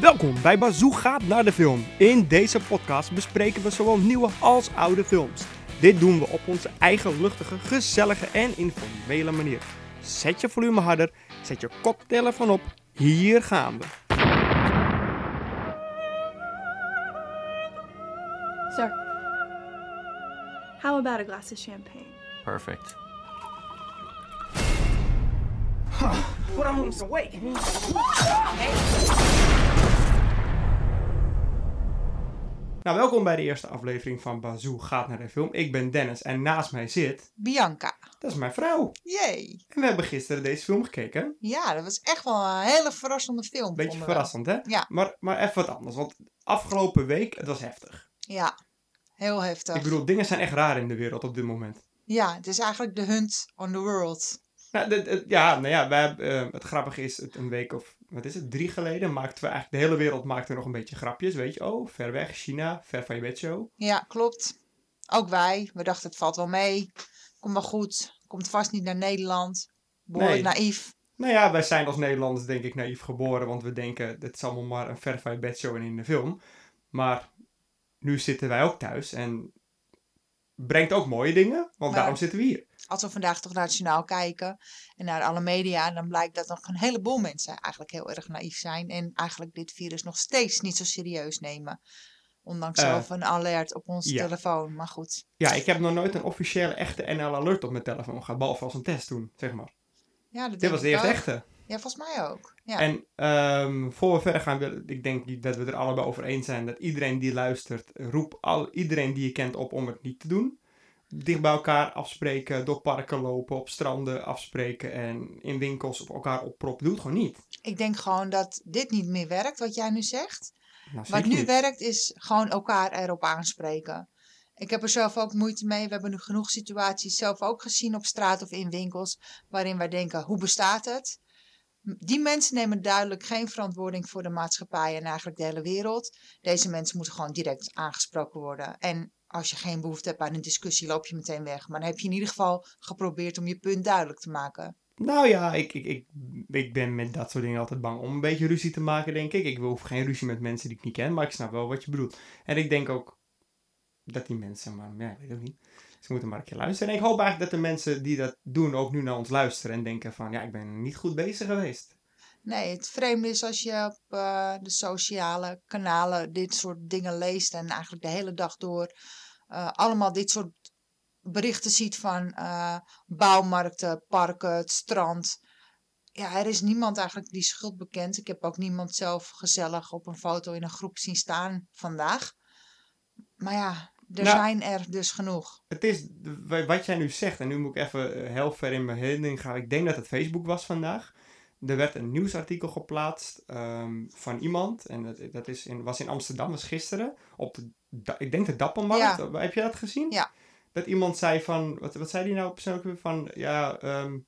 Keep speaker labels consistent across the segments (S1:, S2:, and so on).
S1: Welkom bij Bazoo gaat naar de film. In deze podcast bespreken we zowel nieuwe als oude films. Dit doen we op onze eigen luchtige, gezellige en informele manier. Zet je volume harder, zet je koptelefoon op. Hier gaan we.
S2: Sir, how about a glass of champagne?
S3: Perfect.
S4: Put on who's awake.
S1: Nou, welkom bij de eerste aflevering van Bazoo gaat naar de film. Ik ben Dennis en naast mij zit,
S5: Bianca.
S1: dat is mijn vrouw.
S5: Jee.
S1: En we hebben gisteren deze film gekeken.
S5: Ja, dat was echt wel een hele verrassende film.
S1: Beetje
S5: vonden we.
S1: verrassend, hè?
S5: Ja.
S1: Maar, maar even wat anders, want afgelopen week, het was heftig.
S5: Ja, heel heftig.
S1: Ik bedoel, dingen zijn echt raar in de wereld op dit moment.
S5: Ja, het is eigenlijk de hunt on the world.
S1: Nou, dit- het- ja, nou ja, wij, hebben, eh, het grappige is, het een week of, wat is het, drie geleden maakten we eigenlijk, de hele wereld maakte nog een beetje grapjes, weet je. Oh, ver weg, China, ver van je bedshow.
S5: Ja, klopt. Ook wij. We dachten het valt wel mee. Komt wel goed. Komt vast niet naar Nederland. Behoorlijk
S1: Nee.
S5: naïef.
S1: Nou ja, wij zijn als Nederlanders denk ik naïef geboren, want we denken, dit is allemaal maar een ver van je bedshow en in de film. Maar nu zitten wij ook thuis en brengt ook mooie dingen, want
S5: Maar-
S1: daarom zitten we hier.
S5: Als we vandaag toch naar het journaal kijken en naar alle media, dan blijkt dat nog een heleboel mensen eigenlijk heel erg naïef zijn. En eigenlijk dit virus nog steeds niet zo serieus nemen. Ondanks
S1: Eh,
S5: zelf een alert op onze
S1: ja.
S5: telefoon. Maar goed.
S1: Ja, ik heb nog nooit een officiële echte NL Alert op mijn telefoon gehad, behalve als een test doen, zeg maar.
S5: Ja, dat
S1: Dit
S5: denk
S1: was de
S5: ik
S1: eerste
S5: ook.
S1: echte.
S5: Ja, volgens mij ook. Ja.
S1: En ehm, voor we verder gaan, wil- ik denk niet dat we er allebei over eens zijn dat iedereen die luistert, roep al, iedereen die je kent op om het niet te doen. Dicht bij elkaar afspreken, door parken lopen, op stranden afspreken en in winkels op elkaar opproppen. Doe het gewoon niet.
S5: Ik denk gewoon dat dit niet meer werkt, wat jij nu zegt.
S1: Nou, zeker
S5: Wat nu
S1: niet.
S5: werkt is gewoon elkaar erop aanspreken. Ik heb er zelf ook moeite mee. We hebben nu genoeg situaties zelf ook gezien op straat of in winkels waarin wij denken, hoe bestaat het? M- Die mensen nemen duidelijk geen verantwoording voor de maatschappij en eigenlijk de hele wereld. Deze mensen moeten gewoon direct aangesproken worden. En als je geen behoefte hebt aan een discussie, loop je meteen weg. Maar dan heb je in ieder geval geprobeerd om je punt duidelijk te maken.
S1: Nou ja, ik, ik, ik, ik ben met dat soort dingen altijd bang om een beetje ruzie te maken, denk ik. Ik wil hoef geen ruzie met mensen die ik niet ken, maar ik snap wel wat je bedoelt. En ik denk ook dat die mensen, maar ja, ik weet ook niet. Ze moeten maar een keer luisteren. En ik hoop eigenlijk dat de mensen die dat doen ook nu naar ons luisteren en denken van, ja, ik ben niet goed bezig geweest.
S5: Nee, het vreemde is als je op eh, de sociale kanalen dit soort dingen leest en eigenlijk de hele dag door eh, allemaal dit soort berichten ziet van eh, bouwmarkten, parken, het strand. Ja, er is niemand eigenlijk die schuld bekend. Ik heb ook niemand zelf gezellig op een foto in een groep zien staan vandaag. Maar ja, er
S1: Nou-
S5: zijn er dus genoeg.
S1: Het is de- wa- wat jij nu zegt, en nu moet ik even eh, heel ver in mijn herinnering gaan. Ik denk dat het Facebook was vandaag. Er werd een nieuwsartikel geplaatst ehm, van iemand. En dat, dat is in, was in Amsterdam, was gisteren. Op de, Da- ik denk de Dappermarkt.
S5: Ja.
S1: Heb je dat gezien?
S5: Ja.
S1: Dat iemand zei van, wat, wat zei die nou persoonlijk weer? Van, ja, ehm,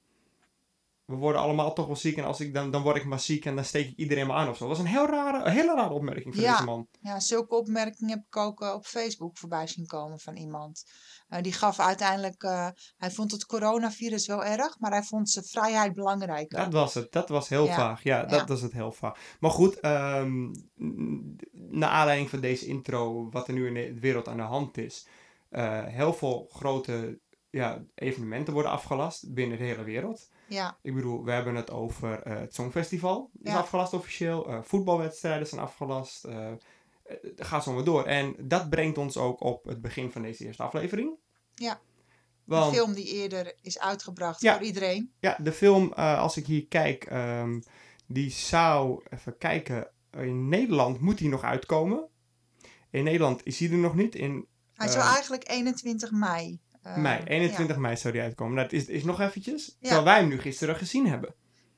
S1: we worden allemaal toch wel ziek. En als ik dan, dan word ik maar ziek en dan steek ik iedereen maar aan of zo. Dat was een heel rare, een hele rare opmerking van
S5: Ja.
S1: deze man.
S5: Ja, zulke opmerkingen heb ik ook eh, op Facebook voorbij zien komen van iemand. Eh, die gaf uiteindelijk, eh, hij vond het coronavirus wel erg, maar hij vond zijn vrijheid belangrijker.
S1: Dat was het. Dat was heel
S5: Ja.
S1: vaag. Ja, dat
S5: Ja.
S1: was het heel vaag. Maar goed, ehm, n- naar aanleiding van deze intro, wat er nu in de wereld aan de hand is. eh, heel veel grote ja, evenementen worden afgelast binnen de hele wereld.
S5: Ja,
S1: Ik bedoel, we hebben het over eh, het Songfestival. Is
S5: Ja.
S1: afgelast officieel. eh, voetbalwedstrijden zijn afgelast. eh, eh, ga zo maar door. En dat brengt ons ook op het begin van deze eerste aflevering.
S5: Ja.
S1: Want,
S5: een film die eerder is uitgebracht
S1: Ja.
S5: voor iedereen.
S1: ja, de film, eh, als ik hier kijk, ehm, die zou, even kijken, in Nederland moet die nog uitkomen. In Nederland is die er nog niet, in
S5: Hij zou
S1: Eh,
S5: eigenlijk 21 mei. eh,
S1: mei, 21 mei zou die uitkomen. Nou, het is, is nog eventjes, terwijl wij hem nu gisteren gezien hebben.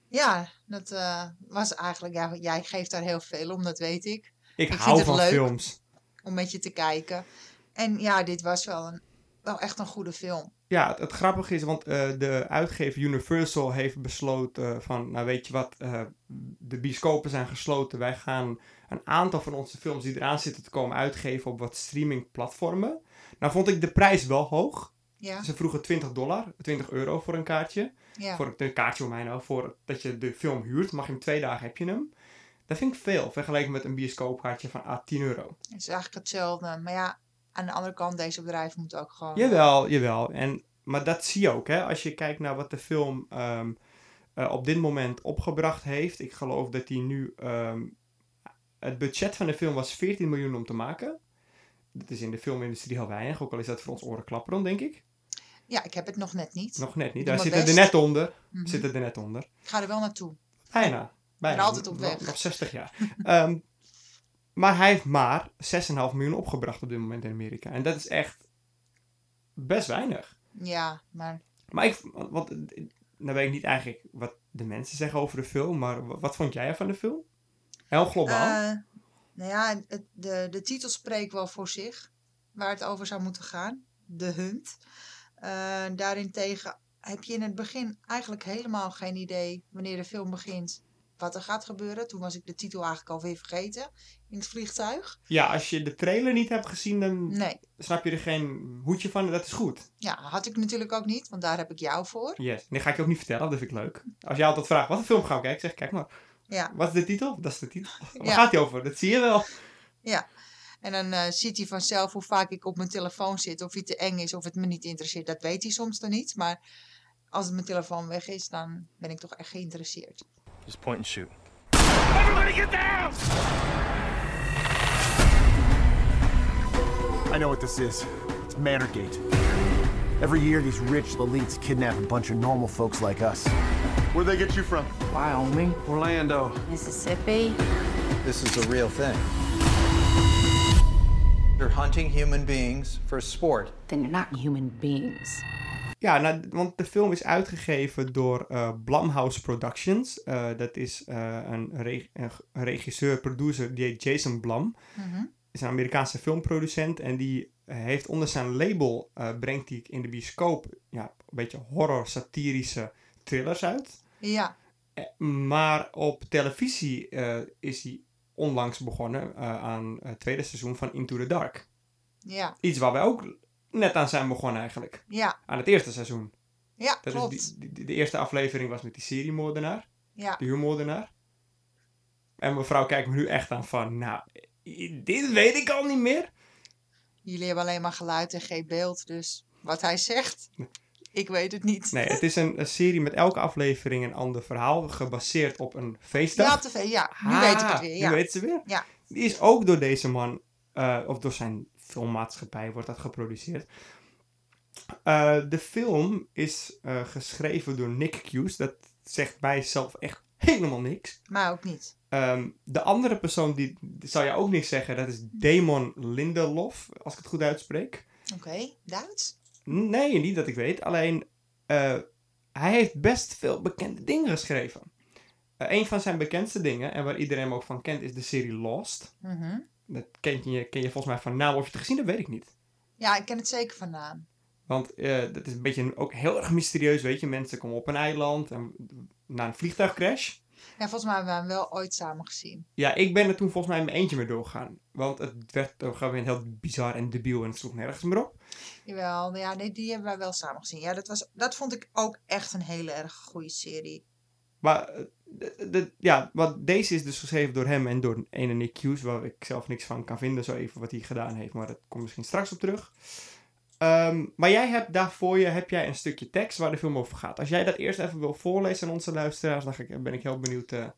S5: Ja, ja dat eh, was eigenlijk, ja, jij geeft daar heel veel om, dat weet ik.
S1: Ik,
S5: vind
S1: hou
S5: het
S1: van
S5: leuk.
S1: films.
S5: Om met je te kijken. En ja, dit was wel, een, wel echt een goede film.
S1: Ja, het, het grappige is, want eh, de uitgever Universal heeft besloten eh, van, nou weet je wat, eh, de bioscopen zijn gesloten. Wij gaan een aantal van onze films die eraan zitten te komen uitgeven op wat streamingplatformen. Nou vond ik de prijs wel hoog.
S5: Ja,
S1: Ze vroegen 20 dollar, 20 euro voor een kaartje.
S5: ja.
S1: Voor een kaartje om mij nou, voor dat je de film huurt. Mag je hem twee dagen heb je hem. Dat vind ik veel, vergeleken met een bioscoopkaartje van à 10 euro.
S5: Het is eigenlijk hetzelfde. Maar ja, aan de andere kant, deze bedrijven moeten ook gewoon...
S1: Jawel, jawel. En, maar dat zie je ook, hè. Als je kijkt naar wat de film ehm, eh, op dit moment opgebracht heeft. Ik geloof dat die nu... ehm, het budget van de film was 14 miljoen om te maken. Dat is in de filmindustrie heel weinig, ook al is dat voor ons oren klapperend, denk ik.
S5: Ja, ik heb het nog net niet.
S1: Nog net niet.
S5: Doe
S1: Daar
S5: mijn
S1: zitten er
S5: best.
S1: net onder.
S5: Mhm.
S1: Zitten Nou, er net onder.
S5: Ik ga er wel naartoe.
S1: Bijna. Bijna.
S5: ben altijd op
S1: Nog-
S5: weg.
S1: Nog 60 jaar. Ehm, maar hij heeft maar 6,5 miljoen opgebracht op dit moment in Amerika. En dat is echt best weinig.
S5: Ja, maar
S1: Maar ik, want, nou weet ik niet eigenlijk wat de mensen zeggen over de film, maar wat, wat vond jij ervan de film? Heel globaal.
S5: Eh, nou ja, het- de, de titel spreekt wel voor zich. Waar het over zou moeten gaan. De Hunt. Eh, daarentegen heb je in het begin eigenlijk helemaal geen idee wanneer de film begint. Wat er gaat gebeuren. Toen was ik de titel eigenlijk alweer vergeten. In het vliegtuig.
S1: ja, als je de trailer niet hebt gezien, dan
S5: Nee,
S1: snap je er geen hoedje van. en Dat is goed.
S5: ja, had ik natuurlijk ook niet. Want daar heb ik jou voor.
S1: Yes. Nee, ga ik je ook niet vertellen. Dat vind ik leuk. Als jij altijd vraagt, wat een film gaan we kijken? Zeg, ik, kijk maar.
S5: Ja.
S1: Wat is de titel? Dat is de titel. Waar
S5: Ja.
S1: gaat die over? Dat zie je wel.
S5: En dan eh, ziet hij vanzelf hoe vaak ik op mijn telefoon zit. Of hij te eng is of het me niet interesseert. Dat weet hij soms dan niet. Maar als mijn telefoon weg is, dan ben ik toch echt geïnteresseerd.
S3: Just point and shoot.
S4: Everybody get down!
S6: I know what this is. It's Manorgate. Every year, these rich elites kidnap a bunch of normal folks like us.
S7: Where'd they get you from?
S6: Wyoming?
S7: Orlando.
S8: Mississippi.
S9: This is a real thing. They're hunting human beings for sport.
S8: Then you're not human beings.
S1: Ja, nou, want de film is uitgegeven door eh Blumhouse Productions. Eh, dat is eh, een, reg- een g- een regisseur, producer, die heet Jason Blum. Is een Amerikaanse filmproducent en die eh, heeft onder zijn label, eh, brengt hij in de bioscoop, ja, een beetje horror, satirische thrillers uit.
S5: Ja,
S1: Eh, maar op televisie eh, is hij onlangs begonnen eh, aan het tweede seizoen van Into the Dark.
S5: ja,
S1: Iets waar wij ook net aan zijn begonnen eigenlijk.
S5: ja,
S1: aan het eerste seizoen.
S5: ja,
S1: Dat
S5: klopt.
S1: is die, die- de eerste aflevering was met die seriemoordenaar,
S5: Ja,
S1: de huurmoordenaar. En mevrouw kijkt me nu echt aan van, nou, i- dit weet ik al niet meer.
S5: jullie hebben alleen maar geluid en geen beeld, dus wat hij zegt, ik weet het niet.
S1: Nee, het is een, een serie met elke aflevering een ander verhaal, gebaseerd op een feestdag.
S5: Ja, op tv, ja, nu
S1: Ah,
S5: weet ik het weer, ja.
S1: Nu weet ze weer.
S5: Ja.
S1: Die is ook door deze man, eh, of door zijn filmmaatschappij wordt dat geproduceerd. Eh, de film is eh, geschreven door Nick Hughes. Dat zegt mij zelf echt helemaal niks.
S5: Maar ook niet.
S1: Ehm, de andere persoon die, die zal je ook niks zeggen, dat is Damon Lindelof, als ik het goed uitspreek.
S5: Oké, Duits?
S1: Nee, niet dat ik weet. Alleen, eh, hij heeft best veel bekende dingen geschreven. Eh, een van zijn bekendste dingen, en waar iedereen hem ook van kent, is de serie Lost.
S5: Mhm.
S1: Dat ken je, ken je volgens mij van naam. Of je het gezien hebt, weet ik niet.
S5: Ja, ik ken het zeker van naam.
S1: Want eh, dat is een beetje een- ook heel erg mysterieus, weet je. Mensen komen op een eiland en na een vliegtuigcrash.
S5: En volgens mij hebben we hem wel ooit samen gezien.
S1: Ja, ik ben er toen volgens mij in mijn eentje mee doorgegaan. Want het werd ook gewoon weer heel bizar en debiel en het sloeg nergens meer op.
S5: Jawel, nou ja, nee, die hebben wij wel samen gezien. Ja, dat, was, dat vond ik ook echt een hele erg goede serie.
S1: Maar eh, de, de- ja, want deze is dus geschreven door hem en door een ene Nick Hughes, waar ik zelf niks van kan vinden, zo even wat hij gedaan heeft. Maar dat komt misschien straks op terug. Ehm, maar jij hebt daarvoor je, heb jij een stukje tekst waar de film over gaat. Als jij dat eerst even wil voorlezen aan onze luisteraars, dan ga ik- ben ik heel benieuwd. eh.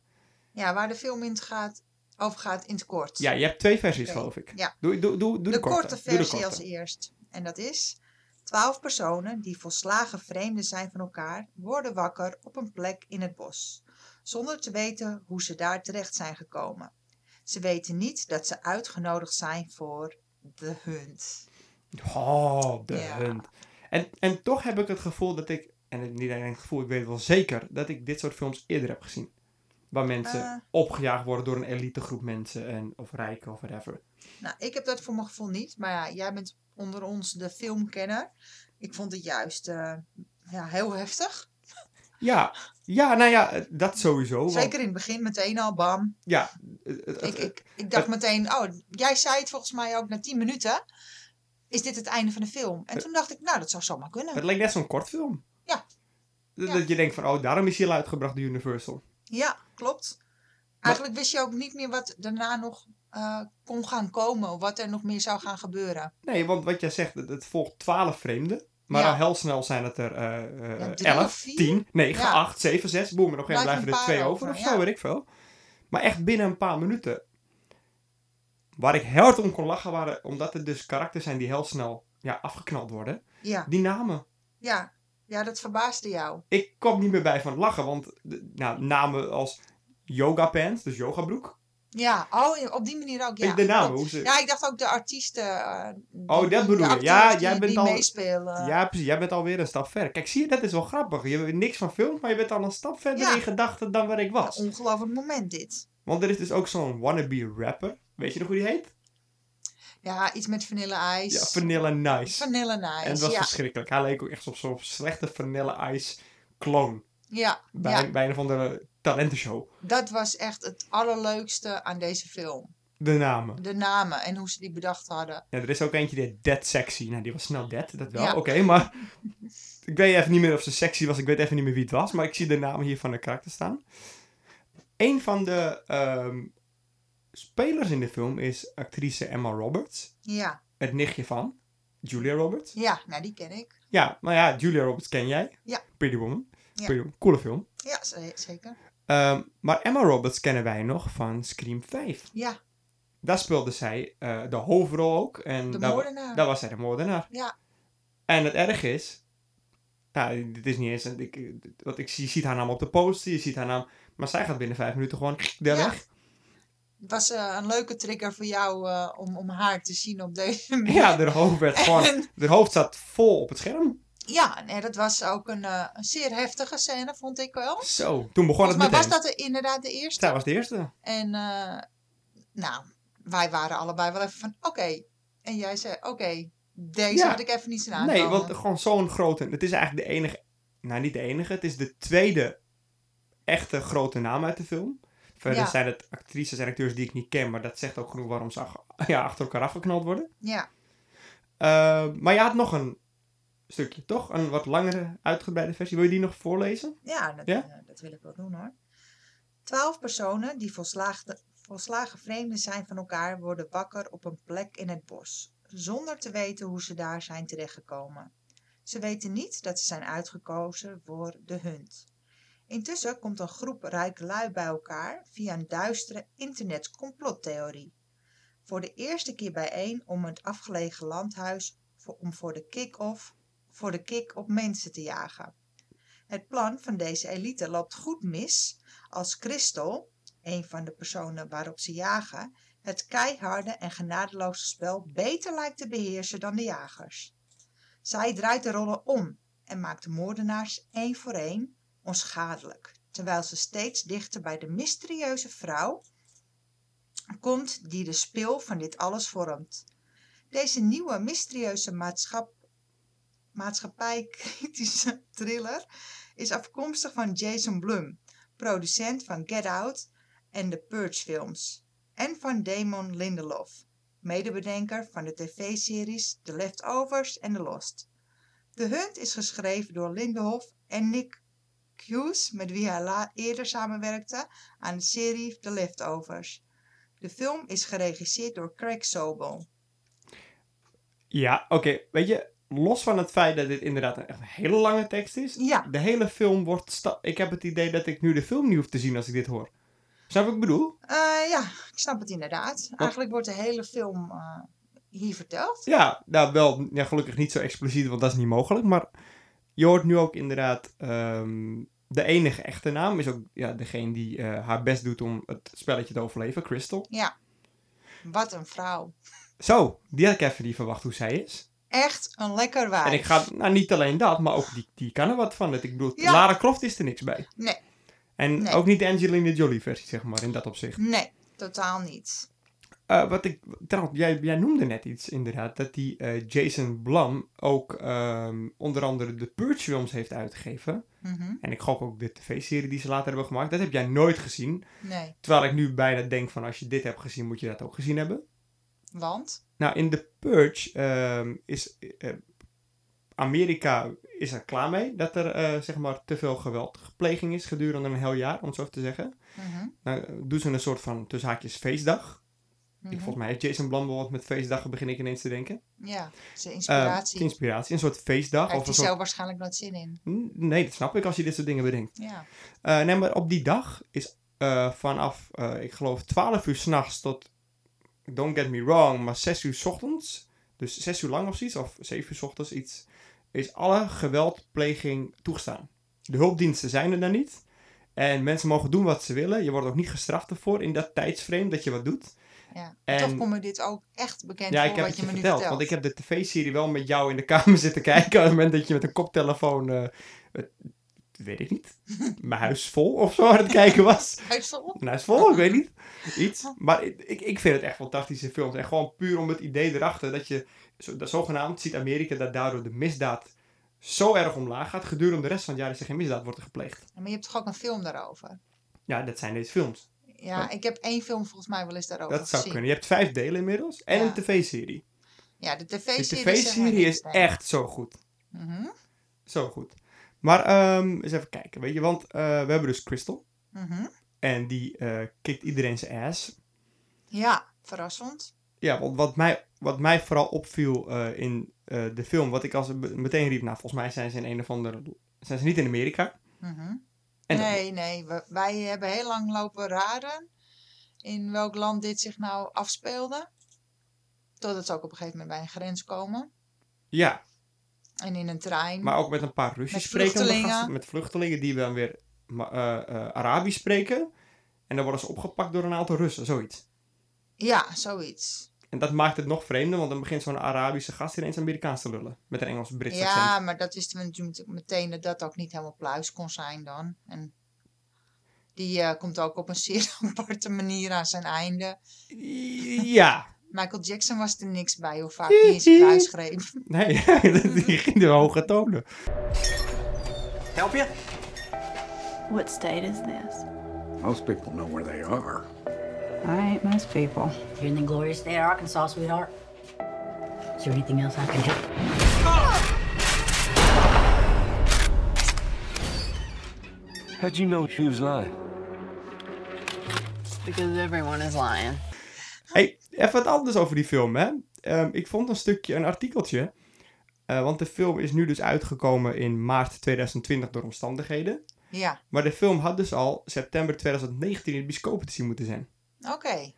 S5: Ja, waar de film in gaat, over gaat in het kort.
S1: ja, je hebt twee versies,
S5: Oké,
S1: geloof ik.
S5: ja.
S1: Doe, doe, doe, doe de,
S5: de, korte,
S1: Doe de
S5: versie
S1: korte.
S5: als eerst. En dat is: twaalf personen die volslagen vreemden zijn van elkaar, worden wakker op een plek in het bos, zonder te weten hoe ze daar terecht zijn gekomen. Ze weten niet dat ze uitgenodigd zijn voor de hunt.
S1: Oh, de
S5: Ja.
S1: Hunt. En, en toch heb ik het gevoel dat ik, en het- niet alleen het gevoel, ik weet wel zeker, dat ik dit soort films eerder heb gezien. Waar mensen
S5: Eh.
S1: opgejaagd worden door een elite groep mensen, en, of rijken of whatever.
S5: Nou, ik heb dat voor mijn gevoel niet, maar ja, jij bent onder ons de filmkenner. Ik vond het juist eh, ja, heel heftig.
S1: Ja, ja nou ja, eh, dat sowieso. want-
S5: Zeker in het begin, meteen al bam.
S1: ja, eh, het- het-
S5: Ik,
S1: het-
S5: ik, ik dacht meteen, oh, jij zei het volgens mij ook na 10 minuten. Is dit het einde van de film? En toen dacht ik, nou, dat zou zomaar
S1: het
S5: kunnen.
S1: leek net zo'n kort film.
S5: Ja.
S1: Dat
S5: Ja.
S1: dat je denkt van, oh, daarom is hij al uitgebracht door Universal.
S5: Ja, klopt. Eigenlijk wist je ook niet meer wat daarna nog eh, kon gaan komen. Wat er nog meer zou gaan gebeuren.
S1: Nee, want wat jij zegt, het, het volgt 12 vreemden. Maar
S5: Ja.
S1: al heel snel zijn het er eh eh,
S5: Ja, drie
S1: 11,
S5: of vier.
S1: 10, 9,
S5: Ja.
S1: 8, 7, 6. Boem, en op een gegeven moment
S5: Blijven
S1: blijven er
S5: een
S1: twee
S5: paar
S1: over of
S5: over,
S1: zo,
S5: ja.
S1: weet ik veel. Maar echt binnen een paar minuten. Waar ik heel hard om kon lachen, waren, omdat het dus karakters zijn die heel snel ja, afgeknald worden.
S5: Ja,
S1: Die namen.
S5: ja. ja dat verbaasde jou.
S1: Ik kwam niet meer bij van het lachen, want de- nou, namen als yoga pants, dus yogabroek.
S5: Ja, oh, op die manier ook. Ja,
S1: de namen,
S5: klopt.
S1: hoe ze-
S5: Ja, ik dacht ook de artiesten. eh,
S1: Oh, dat
S5: die- die
S1: bedoel je.
S5: acteurs
S1: Ja,
S5: die-
S1: jij bent
S5: die
S1: al-
S5: meespelen.
S1: Ja, precies. Jij bent alweer een stap verder. Kijk, zie je, dat is wel grappig. Je hebt niks van film, maar je bent al een stap verder
S5: Ja.
S1: in gedachten dan waar ik was.
S5: Ongelooflijk moment dit.
S1: Want er is dus ook zo'n wannabe rapper. Weet je nog hoe die heet?
S5: Ja, iets met vanille
S1: Ja,
S5: ice.
S1: Vanilla Nice.
S5: vanille
S1: en het
S5: nice.
S1: was
S5: Ja,
S1: verschrikkelijk. Hij leek ook echt op zo'n slechte Vanilla Ice kloon.
S5: ja,
S1: Bij,
S5: ja,
S1: bij een of andere talentenshow.
S5: dat was echt het allerleukste aan deze film.
S1: De namen.
S5: De namen en hoe ze die bedacht hadden.
S1: Ja, er is ook eentje die heet Dead Sexy. Nou, die was snel dead. Dat wel,
S5: Ja.
S1: oké. maar ik weet even niet meer of ze sexy was. Ik weet even niet meer wie het was. Maar ik zie de namen hier van de karakter staan. Een van de ehm, spelers in de film is actrice Emma Roberts.
S5: Ja,
S1: Het nichtje van Julia Roberts.
S5: ja, nou die ken ik.
S1: Ja, maar ja, Julia Roberts ken jij.
S5: Ja.
S1: Pretty Woman.
S5: Ja.
S1: Pretty Woman, Coole film.
S5: Ja, ze- zeker.
S1: Ehm, maar Emma Roberts kennen wij nog van Scream 5.
S5: Ja,
S1: Daar speelde zij eh, de hoofdrol ook. En
S5: De
S1: daar,
S5: moordenaar.
S1: Daar was zij de moordenaar.
S5: ja,
S1: En het erg is... Nou, dit is niet eens... een- Ik, want ik, zie- je ziet haar naam op de poster, je ziet haar naam... Maar zij gaat binnen vijf minuten gewoon daar
S5: Ja.
S1: weg.
S5: het was eh, een leuke trigger voor jou eh, om, om haar te zien op deze manier.
S1: Ja, haar hoofd werd gewoon...
S5: En-
S1: haar hoofd zat vol op het scherm.
S5: Ja, nee, dat was ook een, eh, een zeer heftige scène, vond ik wel.
S1: Zo, toen begon het
S5: Maar
S1: meteen.
S5: was dat de- inderdaad de eerste?
S1: Zij was de eerste.
S5: En eh, nou, wij waren allebei wel even van, oké. En jij zei, oké, deze
S1: Ja.
S5: had ik even niet zien aankomen.
S1: Nee, want gewoon zo'n grote. Het is eigenlijk de enige. Nou, niet de enige. Het is de tweede echte grote naam uit de film. Verder
S5: Ja.
S1: zijn het actrices en acteurs die ik niet ken, maar dat zegt ook genoeg waarom ze ach- ja, achter elkaar afgeknald worden.
S5: Ja,
S1: Eh, maar je had nog een stukje, toch? Een wat langere, uitgebreide versie. Wil je die nog voorlezen?
S5: ja, dat,
S1: Ja?
S5: eh, dat wil ik wel doen hoor. Twaalf personen die volslaagde, volslagen vreemden zijn van elkaar worden wakker op een plek in het bos. Zonder te weten hoe ze daar zijn terechtgekomen. Ze weten niet dat ze zijn uitgekozen voor de hunt. Intussen komt een groep rijke lui bij elkaar via een duistere internetcomplottheorie. Voor de eerste keer bijeen om het afgelegen landhuis voor, om voor de kick-off voor de kick op mensen te jagen. Het plan van deze elite loopt goed mis als Crystal, een van de personen waarop ze jagen, het keiharde en genadeloze spel beter lijkt te beheersen dan de jagers. Zij draait de rollen om en maakt de moordenaars één voor één onschadelijk, terwijl ze steeds dichter bij de mysterieuze vrouw komt die de spil van dit alles vormt. Deze nieuwe mysterieuze maatschap, maatschappijkritische thriller is afkomstig van Jason Blum, producent van Get Out en de Purge films, en van Damon Lindelof, medebedenker van de tv-series The Leftovers en The Lost. De Hunt is geschreven door Lindelof en Nick Hughes, met wie hij la- eerder samenwerkte aan de serie The Leftovers. De film is geregisseerd door Craig Sobel.
S1: Ja, oké. Weet je, los van het feit dat dit inderdaad een echt een hele lange tekst is.
S5: Ja.
S1: De hele film wordt... sta- Ik heb het idee dat ik nu de film niet hoef te zien als ik dit hoor. Snap je wat ik bedoel?
S5: Eh, ja, ik snap het inderdaad. Eigenlijk wordt de hele film eh, hier verteld.
S1: Ja, nou wel, ja, gelukkig niet zo expliciet, want dat is niet mogelijk. Maar je hoort nu ook inderdaad, ehm, de enige echte naam is ook ja, degene die eh, haar best doet om het spelletje te overleven, Crystal.
S5: Ja, wat een vrouw.
S1: Zo, die had ik even niet verwacht hoe zij is.
S5: Echt een lekker wijf.
S1: En ik ga, nou niet alleen dat, maar ook die, die kan er wat van. Het. Ik bedoel,
S5: Ja.
S1: Lara Croft is er niks bij.
S5: Nee,
S1: En
S5: Nee.
S1: ook niet de Angelina Jolie versie, zeg maar, in dat opzicht.
S5: nee, totaal niet.
S1: Eh, wat ik, trouwens, jij, jij noemde net iets inderdaad, dat die eh, Jason Blum ook ehm, onder andere de Purge films heeft uitgegeven.
S5: Mhm,
S1: En ik gok ook de tv-serie die ze later hebben gemaakt. Dat heb jij nooit gezien.
S5: Nee,
S1: Terwijl ik nu bijna denk van als je dit hebt gezien, moet je dat ook gezien hebben.
S5: want?
S1: Nou, in The Purge ehm, is, eh, Amerika is er klaar mee dat er eh, zeg maar te veel geweldpleging is gedurende een heel jaar, om het zo even te zeggen.
S5: Mhm.
S1: Nou, doen ze een soort van tussen haakjes feestdag.
S5: Mhm.
S1: Ik, volgens mij heeft Jason Blum wel wat met feestdagen, begin ik ineens te denken.
S5: Ja, zijn
S1: Eh,
S5: inspiratie. Daar
S1: inspiratie, een soort feestdag. Of
S5: heeft
S1: een
S5: hij
S1: soort...
S5: zelf waarschijnlijk nooit zin in.
S1: Nee, dat snap ik als je dit soort dingen bedenkt.
S5: Ja.
S1: Eh, nee, maar op die dag is eh, vanaf, eh, ik geloof, 12 uur s'nachts tot, don't get me wrong, maar 6 uur 's ochtends, dus 6 uur lang of zoiets, of 7 uur 's ochtends iets, is alle geweldpleging toegestaan. De hulpdiensten zijn er dan niet. En mensen mogen doen wat ze willen. Je wordt ook niet gestraft ervoor in dat tijdsframe dat je wat doet.
S5: Ja.
S1: En-
S5: Toch kom je dit ook echt bekend
S1: Ja,
S5: voor
S1: ik heb het
S5: wat je
S1: je
S5: me nu
S1: verteld.
S5: vertelt.
S1: Want ik heb de tv-serie wel met jou in de kamer zitten kijken. Op het moment dat je met een koptelefoon, eh, het- weet ik niet, mijn huis vol of zo aan het kijken was.
S5: Uitvol?
S1: Mijn huis vol, ik weet niet. Iets. Maar ik, ik- ik vind het echt fantastische films. En gewoon puur om het idee erachter dat je, zo- dat zogenaamd ziet Amerika dat daardoor de misdaad zo erg omlaag gaat. Gedurende de rest van het jaar is er geen misdaad wordt er gepleegd.
S5: Maar je hebt toch ook een film daarover?
S1: Ja, dat zijn deze films.
S5: Ja, ik heb één film volgens mij wel eens daarover
S1: Dat zou
S5: gezien.
S1: kunnen. Je hebt vijf delen inmiddels. En
S5: Ja.
S1: een tv-serie.
S5: Ja, de
S1: De
S5: tv-serie zeg maar
S1: tv-serie
S5: niks
S1: is
S5: tegen.
S1: echt zo goed.
S5: Mhm,
S1: Zo goed. Maar ehm, eens even kijken, weet je, want eh, we hebben dus Crystal.
S5: mhm.
S1: En die eh kikt iedereen zijn ass.
S5: Ja, verrassend.
S1: Ja, want wat mij, wat mij vooral opviel eh, in eh, de film, wat ik als meteen riep, nou, volgens mij zijn ze in een of andere. Zijn ze niet in Amerika?
S5: Mhm.
S1: En
S5: nee, nee. we- wij hebben heel lang lopen raden in welk land dit zich nou afspeelde. Totdat ze ook op een gegeven moment bij een grens komen.
S1: Ja,
S5: En in een trein.
S1: maar ook met een paar Russisch sprekende
S5: vluchtelingen.
S1: gasten. Met vluchtelingen die dan weer ma- eh, eh, Arabisch spreken. En dan worden ze opgepakt door een aantal Russen, zoiets.
S5: Ja, zoiets.
S1: En dat maakt het nog vreemder, want dan begint zo'n Arabische gast ineens Amerikaans te lullen. Met een Engels-Brits accent.
S5: Ja, maar dat wisten we natuurlijk meteen dat dat ook niet helemaal pluis kon zijn dan. En die eh, komt ook op een zeer aparte manier aan zijn einde.
S1: Ja,
S5: Michael Jackson was er niks bij hoe vaak hij in zijn pluis greep.
S1: Nee, die ging de hoge tonen.
S9: Help you?
S2: What state is this?
S3: Most people know where they are.
S8: I ain't most people.
S10: You're in the glorious state of Arkansas, sweetheart. Is there anything else I can help?
S3: How'd you know she was lying?
S10: Because everyone is lying.
S1: Hey, even wat anders over die film, hè. Ehm, ik vond een stukje, een artikeltje. eh, want de film is nu dus uitgekomen in maart 2020 door omstandigheden.
S5: Ja,
S1: Maar de film had dus al september 2019 in de bioscopen te zien moeten zijn.
S5: oké.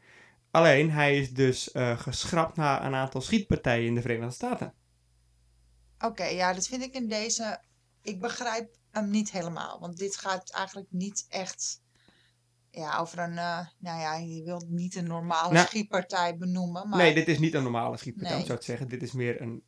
S1: Alleen, hij is dus eh, geschrapt na een aantal schietpartijen in de Verenigde Staten.
S5: Oké, ja, dat vind ik in deze... Ik begrijp hem niet helemaal. Want dit gaat eigenlijk niet echt... Ja, over een... eh, nou ja, je wilt niet een normale
S1: Nou,
S5: schietpartij benoemen. Maar
S1: Nee, dit is niet een normale schietpartij,
S5: Nee.
S1: om zo te zeggen. Dit is meer een...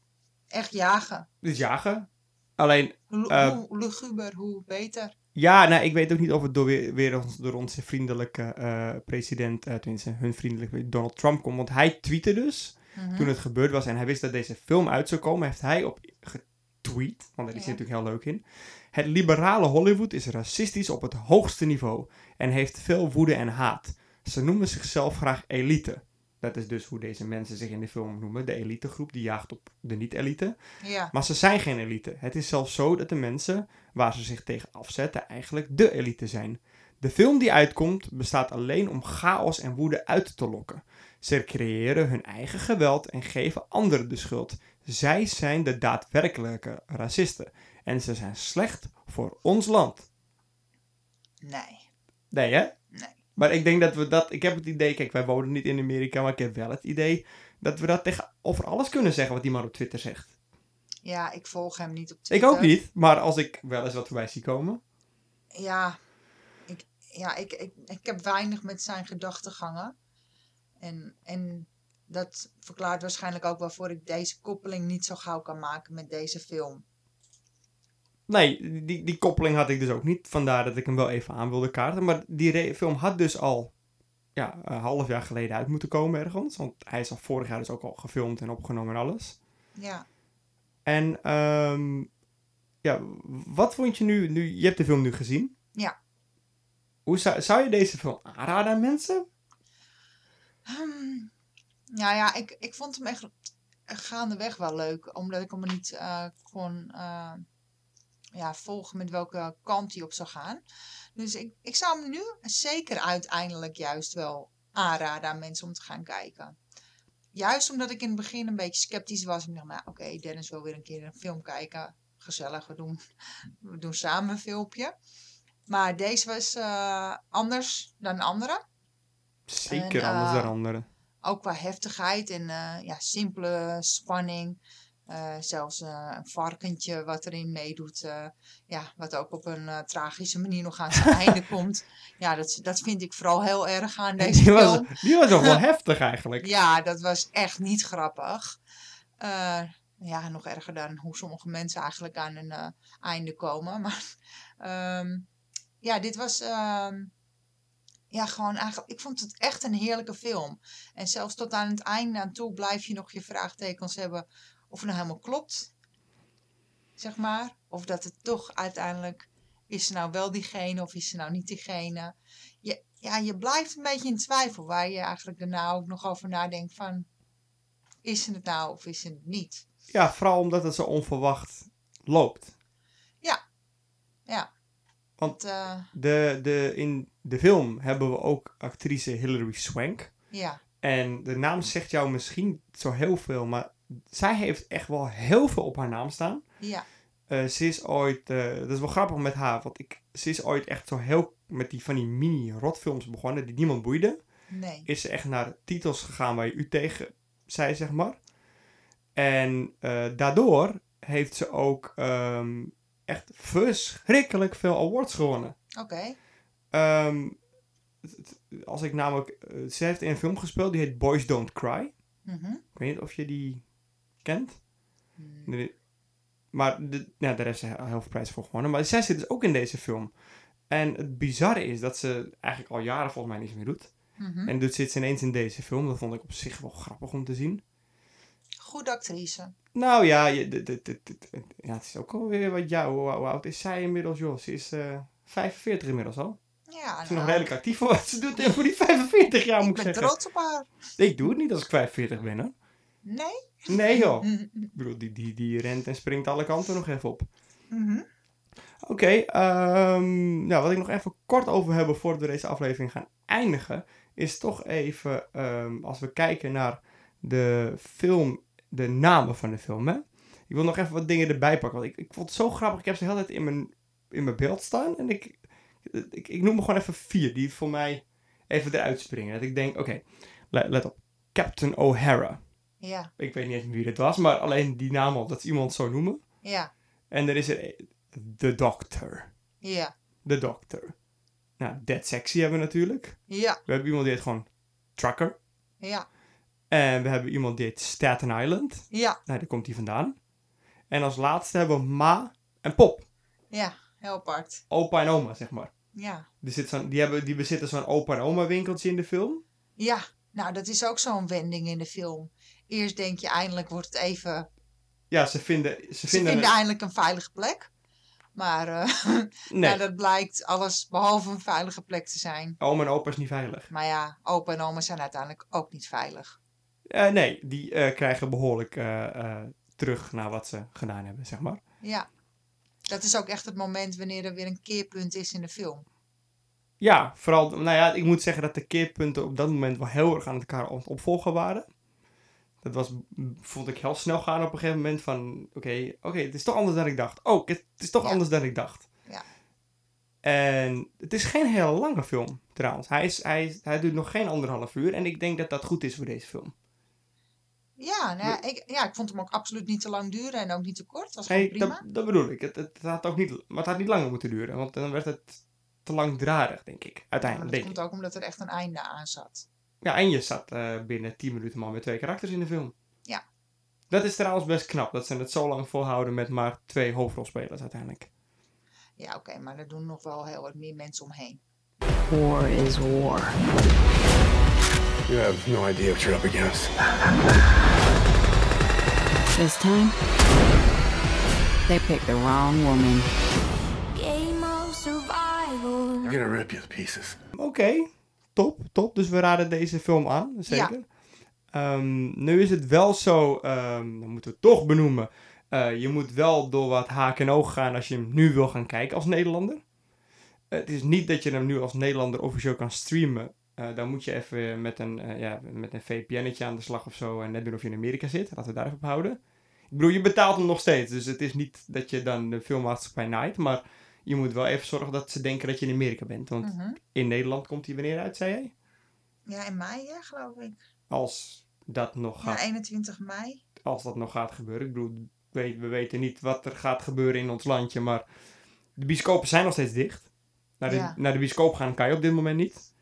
S5: echt jagen.
S1: Dit is jagen. Alleen,
S5: Hoe,
S1: Eh,
S5: hoe luguber, hoe beter.
S1: Ja, nou, ik weet ook niet of het door, weer, weer ons- door onze vriendelijke eh, president, eh tenminste hun vriendelijke Donald Trump komt. Want hij tweette dus, toen het gebeurd was en hij wist dat deze film uit zou komen, heeft hij op getweet, want daar is hij
S5: Ja.
S1: natuurlijk heel leuk in. Het liberale Hollywood is racistisch op het hoogste niveau en heeft veel woede en haat. Ze noemen zichzelf graag elite. Dat is dus hoe deze mensen zich in de film noemen. De elitegroep die jaagt op de niet-elite.
S5: Ja,
S1: Maar ze zijn geen elite. Het is zelfs zo dat de mensen waar ze zich tegen afzetten eigenlijk de elite zijn. De film die uitkomt bestaat alleen om chaos en woede uit te lokken. Ze creëren hun eigen geweld en geven anderen de schuld. Zij zijn de daadwerkelijke racisten. En ze zijn slecht voor ons land.
S5: nee.
S1: Nee, hè?
S5: Nee.
S1: Maar ik denk dat we dat... Ik heb het idee... Kijk, wij wonen niet in Amerika, maar ik heb wel het idee... dat we dat tegen over alles kunnen zeggen wat iemand op Twitter zegt.
S5: Ja, ik volg hem niet op
S1: Ik
S5: Twitter.
S1: ook niet, maar als ik wel eens wat voorbij zie komen.
S5: Ja, ik, ja ik, ik, ik heb weinig met zijn gedachtegangen. En, en dat verklaart waarschijnlijk ook waarvoor ik deze koppeling niet zo gauw kan maken met deze film.
S1: Nee, die, die koppeling had ik dus ook niet. Vandaar dat ik hem wel even aan wilde kaarten. Maar die re- film had dus al ja, een half jaar geleden uit moeten komen ergens. Want hij is al vorig jaar dus ook al gefilmd en opgenomen en alles.
S5: Ja,
S1: En ehm, ja, wat vond je nu, nu... Je hebt de film nu gezien.
S5: Ja.
S1: Hoe zou, zou je deze film aanraden aan mensen?
S5: Ehm, Hmm. nou ja, ik, ik vond hem echt gaandeweg wel leuk. Omdat ik hem niet eh, kon eh, ja, volgen met welke kant hij op zou gaan. Dus ik, ik zou hem nu zeker uiteindelijk juist wel aanraden aan mensen om te gaan kijken. Juist omdat ik in het begin een beetje sceptisch was. Ik dacht, nou oké, Dennis wil weer een keer een film kijken. Gezellig, we doen, we doen samen een filmpje. Maar deze was eh, anders dan andere.
S1: Zeker
S5: En,
S1: anders
S5: eh,
S1: dan anderen.
S5: Ook qua heftigheid en eh, ja, simpele spanning. Eh, zelfs eh, een varkentje wat erin meedoet. eh, ja, wat ook op een eh, tragische manier nog aan zijn einde komt. Ja, dat, dat vind ik vooral heel erg aan deze
S1: Die was,
S5: film.
S1: die was nog wel heftig eigenlijk.
S5: Ja, dat was echt niet grappig. Eh, ja, nog erger dan hoe sommige mensen eigenlijk aan een eh, einde komen. Maar ehm, ja, dit was ehm, ja, gewoon eigenlijk. Ik vond het echt een heerlijke film. En zelfs tot aan het einde aan toe blijf je nog je vraagtekens hebben of het nou helemaal klopt. Zeg maar. Of dat het toch uiteindelijk. Is ze nou wel diegene of is ze nou niet diegene? je, ja, je blijft een beetje in twijfel. Waar je eigenlijk daarna ook nog over nadenkt van... Is ze het nou of is ze het niet?
S1: Ja, vooral omdat het zo onverwacht loopt.
S5: Ja.
S1: Want-
S5: Want, eh,
S1: De, de, in de film hebben we ook actrice Hilary Swank.
S5: ja.
S1: En de naam zegt jou misschien zo heel veel, maar zij heeft echt wel heel veel op haar naam staan.
S5: Ja.
S1: Eh, ze is ooit, eh, dat is wel grappig met haar, want ik, ze is ooit echt zo heel met die van die mini-rotfilms begonnen die niemand boeide.
S5: Nee.
S1: Is ze echt naar titels gegaan waar je u tegen zei, zeg maar. En eh, daardoor heeft ze ook ehm, echt verschrikkelijk veel awards gewonnen.
S5: Oké.
S1: Ehm, het- het- als ik namelijk, eh, ze heeft in een film gespeeld die heet Boys Don't Cry.
S5: Mhm.
S1: Ik weet niet of je die kent. Nee. Maar de, nou, daar heeft ze heel heel veel prijs voor gewonnen. Maar zij zit dus ook in deze film. En het bizarre is dat ze eigenlijk al jaren volgens mij niks meer doet.
S5: Mhm.
S1: En dus zit ze ineens in deze film. Dat vond ik op zich wel grappig om te zien.
S5: Goede actrice.
S1: Nou ja, je, dit- dit- dit- dit- ja het is ook alweer wat jou. Hoe, hoe oud is zij inmiddels, joh? Ze is eh 45 inmiddels al.
S5: Ja,
S1: Ze is nog
S5: nou,
S1: redelijk actief voor wat ze doet. En voor die 45 jaar
S5: ik
S1: moet ik
S5: ben
S1: zeggen.
S5: trots op haar.
S1: Ik doe het niet als ik 45 ben, hoor.
S5: Nee?
S1: Nee, joh. Ik bedoel, die, die, die rent en springt alle kanten nog even op.
S5: Mhm.
S1: Oké, ehm, nou, wat ik nog even kort over hebben voordat we deze aflevering gaan eindigen, is toch even ehm, als we kijken naar de film, de namen van de film. Hè? Ik wil nog even wat dingen erbij pakken, want ik, ik vond het zo grappig. Ik heb ze de hele tijd in mijn, in mijn beeld staan en ik, ik, ik noem er gewoon even vier die voor mij even eruit springen. Dat ik denk, oké, le- let op. Captain O'Hara.
S5: Ja.
S1: Ik weet niet eens wie dit was, maar alleen die naam al, dat ze iemand zo noemen.
S5: Ja.
S1: En er is er e- The Doctor.
S5: Ja.
S1: De dokter. Nou, Dead Sexy hebben we natuurlijk.
S5: Ja.
S1: We hebben iemand die heet gewoon Trucker.
S5: Ja.
S1: En we hebben iemand die heet Staten Island.
S5: Ja.
S1: Nou, daar komt die vandaan. En als laatste hebben we Ma en Pop.
S5: Ja. Heel apart.
S1: Opa en oma, zeg maar.
S5: Ja.
S1: Er zit zo'n- die, hebben, die bezitten zo'n opa en oma winkeltje in de film.
S5: Ja. Nou, dat is ook zo'n wending in de film. Eerst denk je eindelijk wordt het even
S1: Ja, ze vinden... Ze vinden,
S5: Ze vinden, eindelijk een veilige plek. Maar eh,
S1: Nee,
S5: ja, dat blijkt alles behalve een veilige plek te zijn.
S1: oma en opa is niet veilig.
S5: Maar ja, opa en oma zijn uiteindelijk ook niet veilig.
S1: Eh, nee, die eh, krijgen behoorlijk eh, eh, terug naar wat ze gedaan hebben, zeg maar.
S5: Ja. Dat is ook echt het moment wanneer er weer een keerpunt is in de film.
S1: Ja, vooral, nou ja, ik moet zeggen dat de keerpunten op dat moment wel heel erg aan elkaar aan het opvolgen waren. Dat was, m, vond ik heel snel gaan op een gegeven moment van, oké, oké, het is toch anders dan ik dacht. Oh, het het is toch
S5: Ja.
S1: anders dan ik dacht.
S5: Ja.
S1: En het is geen hele lange film, trouwens. Hij, is, hij, is- hij duurt nog geen anderhalf uur en ik denk dat dat goed is voor deze film.
S5: Ja, nou, ja, ik, ja, ik vond hem ook absoluut niet te lang duren en ook niet te kort. Het was gewoon
S1: Nee,
S5: prima.
S1: dat, dat bedoel ik. Het, het, had ook niet, maar het had niet langer moeten duren, want dan werd het te langdradig, denk ik.
S5: Maar dat
S1: Uiteindelijk, denk ik.
S5: komt ook omdat er echt een einde aan zat.
S1: Ja, en je zat eh, binnen 10 minuten maar met twee karakters in de film.
S5: Ja.
S1: Dat is trouwens best knap, dat ze het zo lang volhouden met maar twee hoofdrolspelers uiteindelijk.
S5: Ja, oké, maar er doen nog wel heel wat meer mensen omheen.
S10: War is war.
S3: You have no idea what you're up against.
S8: This time, they picked the wrong woman.
S11: Game of survival.
S3: They're gonna rip you to pieces.
S1: Oké, top, top. Dus we raden deze film aan, zeker. Um, nu is het wel zo, um, dan moeten we het toch benoemen. Uh, je moet wel door wat haak en oog gaan als je hem nu wil gaan kijken als Nederlander. Uh, het is niet dat je hem nu als Nederlander officieel kan streamen. Uh, dan moet je even met een, eh, ja, met een VPN'tje aan de slag of zo. En net doen of je in Amerika zit. Laten we daar even op houden. Ik bedoel, je betaalt hem nog steeds. Dus het is niet dat je dan de filmmaatschappij naait. Maar je moet wel even zorgen dat ze denken dat je in Amerika bent. Want -huh. in Nederland komt hij wanneer uit, zei jij?
S5: Ja, in mei, ja, geloof ik.
S1: Als dat nog
S5: gaat... Ja, 21 mei.
S1: Als dat nog gaat gebeuren. Ik bedoel, we, weten niet wat er gaat gebeuren in ons landje, maar de bioscopen zijn nog steeds dicht. Naar de, ja. naar de bioscoop gaan kan je op dit moment niet.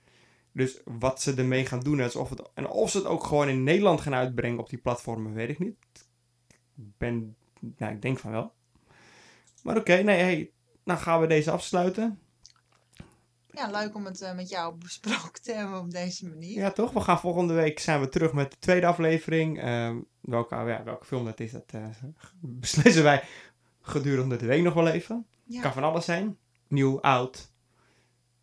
S1: Dus wat ze ermee gaan doen en of, het, en of ze het ook gewoon in Nederland gaan uitbrengen op die platformen, weet ik niet. Ik ben, nou, ik denk van wel. Maar oké, okay, nee, hey, nou gaan we deze afsluiten.
S5: Ja, leuk om het uh, met jou besproken te hebben op deze manier.
S1: Ja, toch? We gaan volgende week zijn we terug met de tweede aflevering. Uh, welke, ja, welke film dat is, dat uh, beslissen wij gedurende de week nog wel even. Ja. Kan van alles zijn. Nieuw, oud.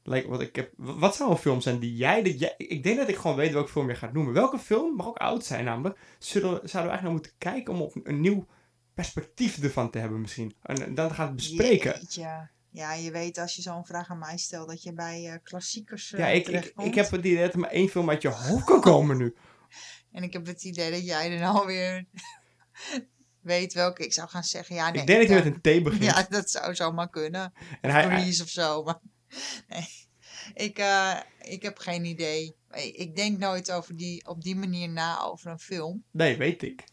S1: Like, wat, ik heb, wat zou een film zijn die jij, dat jij... Ik denk dat ik gewoon weet welke film je gaat noemen. Welke film, mag ook oud zijn namelijk, zullen, zouden we eigenlijk naar moeten kijken om op een nieuw perspectief ervan te hebben misschien. En dan gaat bespreken.
S5: ja ja, je weet als je zo'n vraag aan mij stelt dat je bij uh, klassiekers. Uh,
S1: ja, ik, ik, ik, heb het idee dat er maar één film uit je hoofd kan komen nu.
S5: en ik heb het idee dat jij er nou weer weet welke ik zou gaan zeggen. Ja, nee,
S1: ik denk dat je met een T begint.
S5: Ja, dat zou zomaar kunnen. En hij, Release of zo. Maar nee, ik, uh, ik heb geen idee. Ik denk nooit over die, op die manier na over een film.
S1: Nee, weet ik.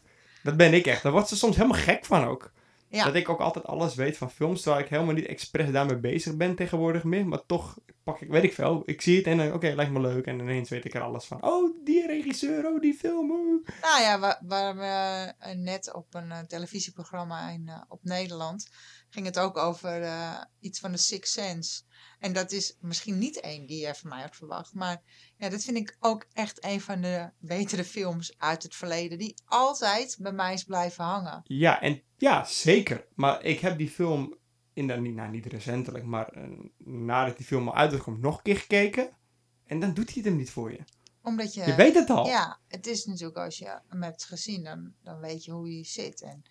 S1: Dat ben ik echt. Daar wordt ze soms helemaal gek van ook. Ja. Dat ik ook altijd alles weet van films, terwijl ik helemaal niet expres daarmee bezig ben tegenwoordig meer. Maar toch pak ik, weet ik veel, ik zie het en dan, oké, okay, lijkt me leuk. En ineens weet ik er alles van. Oh, die regisseur, oh, die film. Oh.
S5: Nou ja, waar, waar we uh, net op een uh, televisieprogramma in, uh, op Nederland ging het ook over eh, iets van de Six Sense. En dat is misschien niet één die je van mij had verwacht. Maar ja, dat vind ik ook echt een van de betere films uit het verleden. Die altijd bij mij is blijven hangen.
S1: Ja, en ja, zeker. Maar ik heb die film, in de, nou, niet recentelijk, maar uh, nadat die film al uit was, nog een keer gekeken. En dan doet hij het hem niet voor je.
S5: Omdat je...
S1: Je weet het al.
S5: Ja, het is natuurlijk als je hem hebt gezien, dan, dan weet je hoe hij zit. En...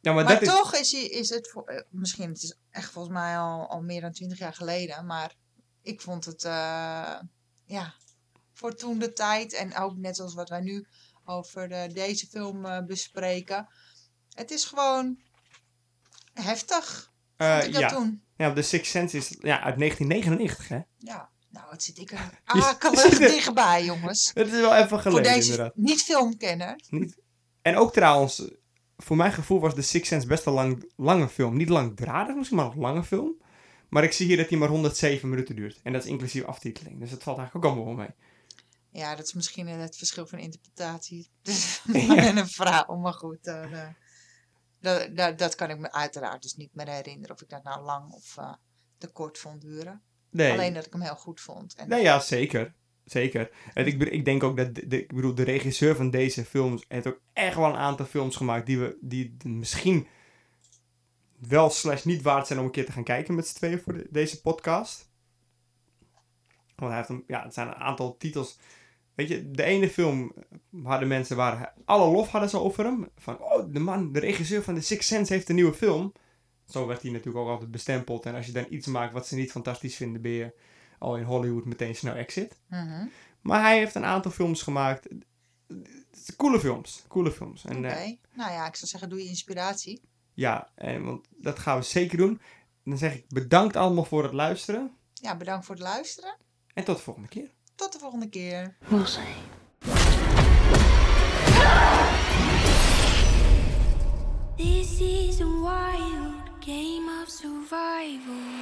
S1: Ja,
S5: maar, maar toch is... is, is het, voor, eh, misschien het is echt volgens mij al, al meer dan twintig jaar geleden, maar ik vond het, uh, ja, voor toen de tijd en ook net als wat wij nu over de, deze film uh, bespreken, het is gewoon heftig.
S1: Uh, ja. Toen. ja, de Sixth Sense is ja, uit 1999, hè?
S5: Ja. Nou, het zit ik er akelig dichtbij, jongens.
S1: Het is wel even geleden,
S5: Voor deze
S1: inderdaad.
S5: niet filmkenner. Niet.
S1: En ook trouwens, voor mijn gevoel was The Sixth Sense best een lang, lange film. Niet langdradig misschien, maar een lange film. Maar ik zie hier dat hij maar 107 minuten duurt. En dat is inclusief aftiteling. Dus dat valt eigenlijk ook allemaal wel mee.
S5: Ja, dat is misschien het verschil van interpretatie tussen ja. een vrouw. Maar goed, uh, uh, dat, dat, dat, kan ik me uiteraard dus niet meer herinneren. Of ik dat nou lang of uh, te kort vond duren. Nee. Alleen dat ik hem heel goed vond.
S1: En nee, Nou ja, zeker zeker. En ik, ik, denk ook dat de, de, ik bedoel, de regisseur van deze films heeft ook echt wel een aantal films gemaakt die, we, die misschien wel slash niet waard zijn om een keer te gaan kijken met z'n tweeën voor de, deze podcast. Want hij heeft een, ja, het zijn een aantal titels. Weet je, de ene film hadden mensen waar alle lof hadden ze over hem. Van, oh, de man, de regisseur van The Sixth Sense heeft een nieuwe film. Zo werd hij natuurlijk ook altijd bestempeld. En als je dan iets maakt wat ze niet fantastisch vinden, ben je al in Hollywood meteen snel exit. Mm -hmm. Maar hij heeft een aantal films gemaakt. Coole films. Coole films. eh,
S5: Oké. Okay. Uh, nou ja, ik zou zeggen, doe je inspiratie.
S1: Ja, en, want dat gaan we zeker doen. Dan zeg ik bedankt allemaal voor het luisteren.
S5: Ja, bedankt voor het luisteren.
S1: En tot de volgende keer.
S5: Tot de volgende keer.
S2: We'll see.
S11: This is a wild game of survival.